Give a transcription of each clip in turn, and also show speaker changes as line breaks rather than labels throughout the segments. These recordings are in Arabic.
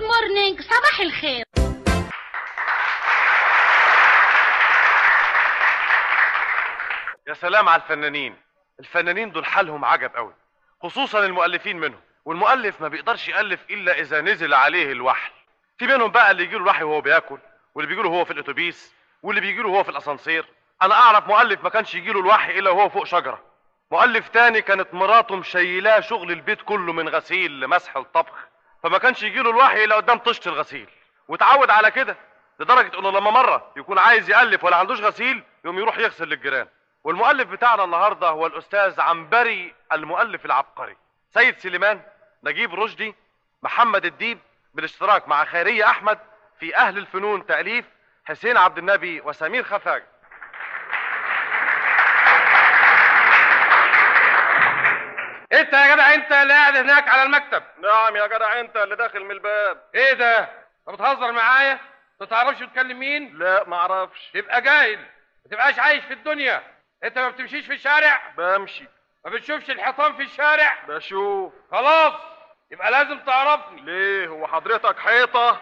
خريج صباح الخير
يا سلام على الفنانين الفنانين دول حالهم عجب قوي خصوصا المؤلفين منهم والمؤلف ما بيقدرش يألف إلا إذا نزل عليه الوحل في منهم بقى اللي يجيله الوحي وهو بياكل واللي بيجيله هو في الأتوبيس واللي بيجيله هو في الأسانسير أنا أعرف مؤلف ما كانش يجيله الوحي إلا وهو فوق شجرة مؤلف تاني كانت مراته مشيلاه شغل البيت كله من غسيل لمسح لطبخ فما كانش يجيله الوحي إلا قدام طشت الغسيل وتعود على كده لدرجة إنه لما مرة يكون عايز يألف ولا عندوش غسيل يقوم يروح يغسل للجيران والمؤلف بتاعنا النهارده هو الاستاذ عنبري المؤلف العبقري سيد سليمان نجيب رشدي محمد الديب بالاشتراك مع خيريه احمد في اهل الفنون تاليف حسين عبد النبي وسمير خفاج
انت يا جدع انت اللي قاعد هناك على المكتب
نعم يا جدع انت اللي داخل من الباب
ايه ده انت بتهزر معايا ما تعرفش بتكلم مين
لا ما اعرفش
تبقى جاهل ما تبقاش عايش في الدنيا انت ما بتمشيش في الشارع
بمشي
ما بتشوفش الحيطان في الشارع
بشوف
خلاص يبقى لازم تعرفني
ليه هو حضرتك حيطه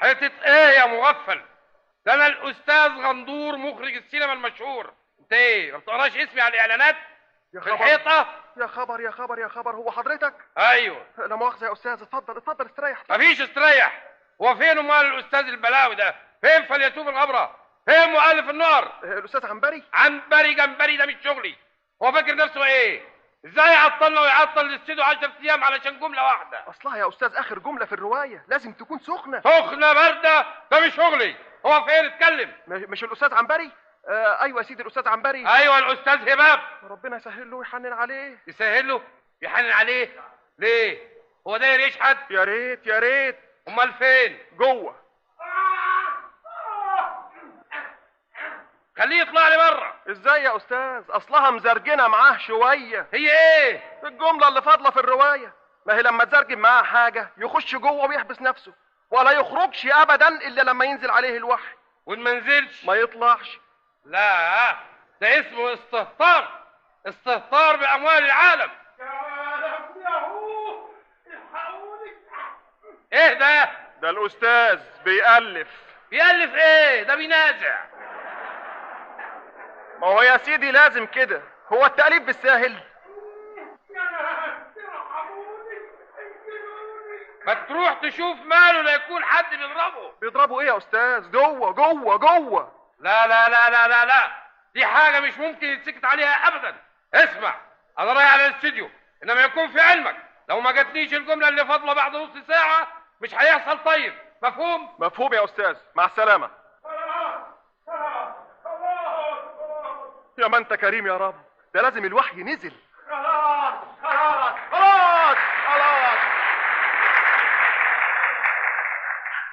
حته ايه يا مغفل ده انا الاستاذ غندور مخرج السينما المشهور انت ايه ما بتقراش اسمي على الاعلانات
يا
في الحيطه
يا خبر يا خبر يا خبر هو حضرتك
ايوه
لا مؤاخذه يا استاذ اتفضل اتفضل استريح
مفيش استريح هو فين امال الاستاذ البلاوي ده فين فليتوب الغبره فين مؤلف النار
الاستاذ عنبري
عنبري جمبري ده مش شغلي هو فاكر نفسه ايه ازاي عطلنا ويعطل الاستوديو 10 ايام علشان جمله واحده
اصلها يا استاذ اخر جمله في الروايه لازم تكون سخنه
سخنه بارده ده مش شغلي هو فين اتكلم
مش مش الأستاذ عنبري؟ آه ايوه يا سيدي الأستاذ عنبري
ايوه الاستاذ هباب
ربنا يسهل له ويحنن عليه
يسهل له يحنن عليه ليه هو داير يشحت
يا ريت يا ريت
امال فين
جوه
خليه يطلع لي بره
ازاي يا أستاذ؟ أصلها مزرجنة معاه شوية
هي ايه
الجملة اللي فاضلة في الرواية ما هي لما تزرجن معاه حاجة يخش جوه ويحبس نفسه ولا يخرجش أبدا إلا لما ينزل عليه الوحي
وإن ما نزلش
ما يطلعش
لا ده اسمه استهتار استهتار باموال العالم ايه ده
ده الأستاذ بيألف
بيألف ايه ده بينازع
ما هو يا سيدي لازم كده هو التأليف بالساهل
ما تروح تشوف ماله لا يكون حد بيضربه
بيضربوا إيه يا أستاذ؟ جوه جوه جوه
لا لا لا لا لا لا دي حاجه مش ممكن يتسكت عليها ابدا اسمع انا رايح على الاستديو انما يكون في علمك لو ما جاتنيش الجمله اللي فاضله بعد نص ساعه مش هيحصل طيب مفهوم
مفهوم يا أستاذ مع السلامة يا ما أنت كريم يا رب ده لازم الوحي نزل خلاص خلاص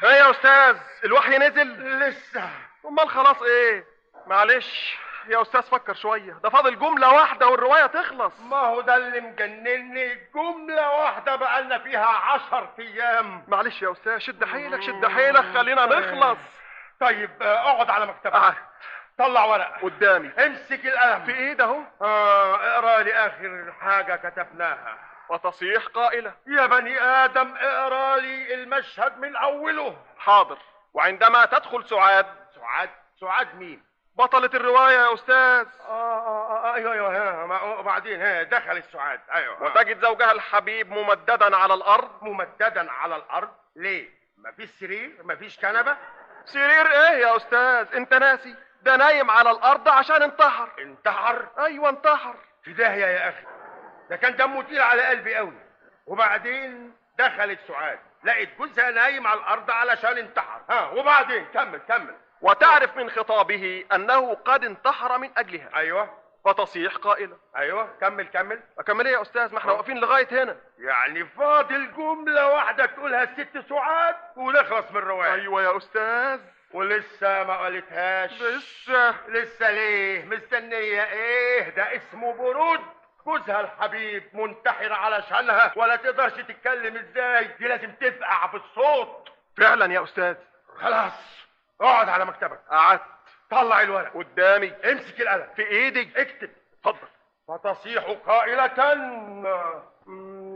ايه يا أستاذ الوحي نزل لسه أمال خلاص إيه معلش يا أستاذ فكر شوية ده فاضل جملة واحدة والرواية تخلص
ما هو ده اللي مجنني جملة واحدة بقالنا فيها عشر أيام
معلش يا أستاذ شد حيلك شد حيلك خلينا نخلص
طيب آه، اقعد على مكتبك
آه،
طلع ورقة
قدامي
امسك القلم
في إيه ده أهو
آه اقرا لي آخر حاجة كتبناها
وتصيح قائلة
يا بني آدم اقرا لي المشهد من أوله
حاضر وعندما تدخل سعاد
سعاد سعاد مين؟
بطلة الرواية يا أستاذ
آه آه آه أيوه أيوه ها، ما- وبعدين ها، دخلت سعاد أيوه ها.
وتجد زوجها الحبيب ممددا على الأرض
ممددا على الأرض ليه؟ مفيش سرير مفيش كنبة
سرير إيه يا أستاذ أنت ناسي ده نايم على الأرض عشان انتحر
انتحر
أيوة انتحر
في داهيه يا اخي ده كان دمه تقيل على قلبي قوي وبعدين دخلت سعاد لقيت جوزها نايم على الارض علشان انتحر ها وبعدين كمل كمل
وتعرف من خطابه أنه قد انتحر من أجلها
ايوه
فتصيح قائلة
ايوه كمل كمل
أكمل إيه يا أستاذ
آه.
ما احنا واقفين لغاية هنا
يعني فاضل جمله واحده تقولها الست سعاد ونخلص من الروايه
أيوة يا أستاذ
ولسه ما قالتهاش
لسه
لسه ليه مستنيه ايه ده اسمه برود جوزها الحبيب منتحر علشانها ولا تقدرش تتكلم ازاي دي لازم تفقع بالصوت
فعلا يا أستاذ
خلاص اقعد على مكتبك
قعدت
طلع الورق
قدامي
امسك القلم
في إيدي
اكتب
اتفضل
فتصيح قائلة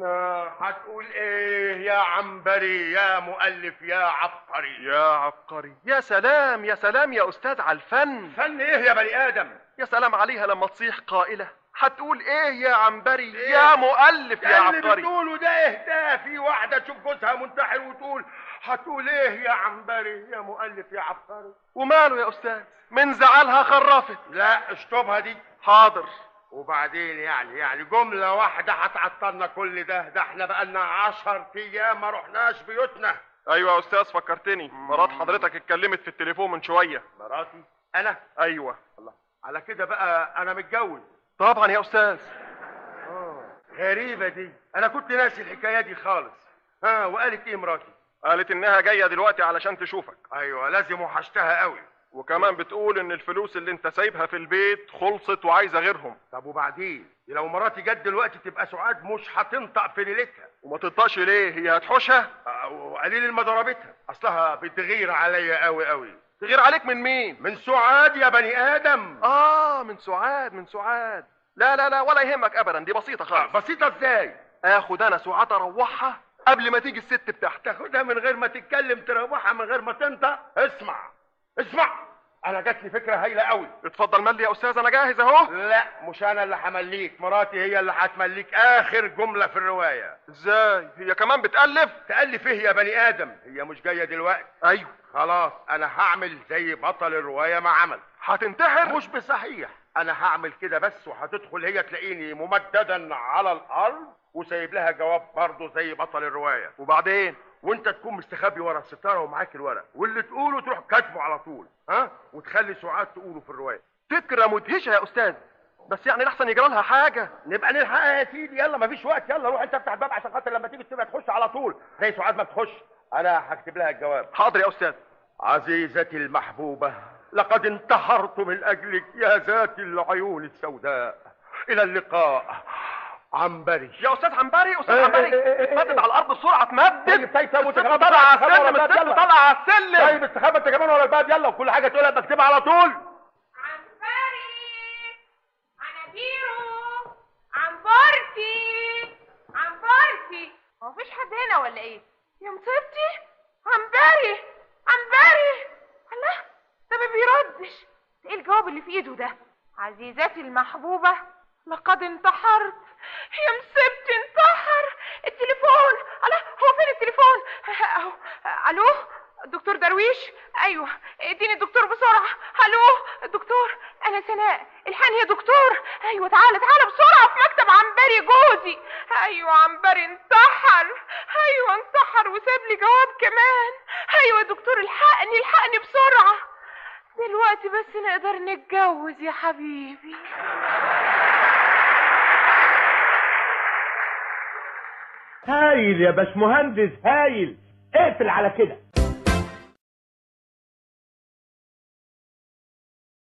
آه، هتقول ايه يا عنبري يا مؤلف يا عبقري
يا عبقري يا سلام يا سلام يا أستاذ على الفن
فن ايه يا بني ادم
يا سلام عليها لما تصيح قائلة هتقول ايه يا عنبري
إيه؟
يا مؤلف يا
ده اللي
عبقري
بتقوله ده اهداء في واحده تشوف جوزها منتحر وتقول هتقول ايه يا عنبري يا مؤلف يا عبقري
وماله يا أستاذ من زعلها خرافت
لا اشطبها دي
حاضر
وبعدين يعني يعني جملة واحدة هتعطلنا كل ده ده احنا بقالنا عشر ايام ما رحناش بيوتنا
أيوة يا أستاذ فكرتني مرات حضرتك اتكلمت في التليفون من شوية
مراتي انا
أيوة
الله على كده بقى انا متجوز
طبعا يا أستاذ
اه غريبة دي انا كنت ناسي الحكاية دي خالص ها وقالت ايه مراتي
قالت إنها جاية دلوقتي علشان تشوفك
ايوه لازم وحشتها قوي
وكمان بتقول إن الفلوس اللي أنت سايبها في البيت خلصت وعايزة غيرهم
طب وبعدين دي لو مراتي جت دلوقتي تبقى سعاد مش هتنطق في ليلتها
وما تطاش ليه هي هتحوشها
آه، وقليل ما ضربتها اصلها بتغير عليا قوي قوي
تغير عليك من مين
من سعاد يا بني ادم
آه من سعاد من سعاد لا لا لا ولا يهمك أبدا دي آه، بسيطة خالص
بسيطة ازاي
آخد أنا سعاد أروحها قبل ما تيجي الست بتاعتي
تاخدها من غير ما تتكلم تروحها من غير ما تنطق اسمع اسمع انا جاتلي فكره هايله قوي
اتفضل ملي يا أستاذ أنا جاهز أهو
لا مش انا اللي همليك مراتي هي اللي هتمليك اخر جمله في الروايه
إزاي هي كمان بتألف
تالف ايه يا بني ادم هي مش جايه دلوقتي
أيوه
خلاص انا هعمل زي بطل الروايه ما عمل
هتنتحر
مش بصحيح انا هعمل كده بس وهتدخل هي تلاقيني ممددا على الارض وسايب لها جواب برضه زي بطل الروايه
وبعدين
وانت تكون مستخبي ورا الستاره ومعاك الورق واللي تقوله تروح كاتبه على طول ها وتخلي سعاد تقوله في الروايه
فكرة مدهشة يا أستاذ بس يعني الأحسن يجرى لها حاجة
نبقى نلحقها يا سيدي يلا مفيش وقت يلا روح انت افتح الباب عشان خاطر لما تيجي تبقى تخش على طول زي سعاد ما تخش انا هكتب لها الجواب
حاضر يا أستاذ
عزيزتي المحبوبه لقد انتحرت من اجلك يا ذات العيون السوداء الى اللقاء عنبري
يا أستاذ عنبري أستاذ
إيه،
عنبري
إيه، إيه، إيه،
اتمدد
إيه.
على الأرض بسرعة اتمدد
طيب، طيب، طيب،
الست
وتخبط،
طالعة على
وتخبط،
السلم
وتخبط،
الست
يلا.
طالعة على السلم
طيب استخبى انت كمان ورا الباب يلا وكل حاجه تقولها بكتبها على طول
عنبري عنابيره عنبرتي عنبرتي هو مفيش حد هنا ولا ايه يا مصيبتي عنبري عنبري الله ده ما بيردش ده ايه الجواب اللي في ايده ده عزيزتي المحبوبة لقد انتحرت يا مصيبتي انتحر التليفون الله هو فين التليفون اهو الو دكتور درويش ايوه اديني الدكتور بسرعه الو دكتور انا سناء الحان يا دكتور ايوه تعالى تعالى بسرعه في مكتب عنبري جوزي ايوه عنبري انتحر ايوه انتحر وساب لي جواب كمان ايوه يا دكتور الحقني الحقني بسرعه دلوقتي بس نقدر نتجوز يا حبيبي
هايل يا باش مهندس هايل اقفل على كده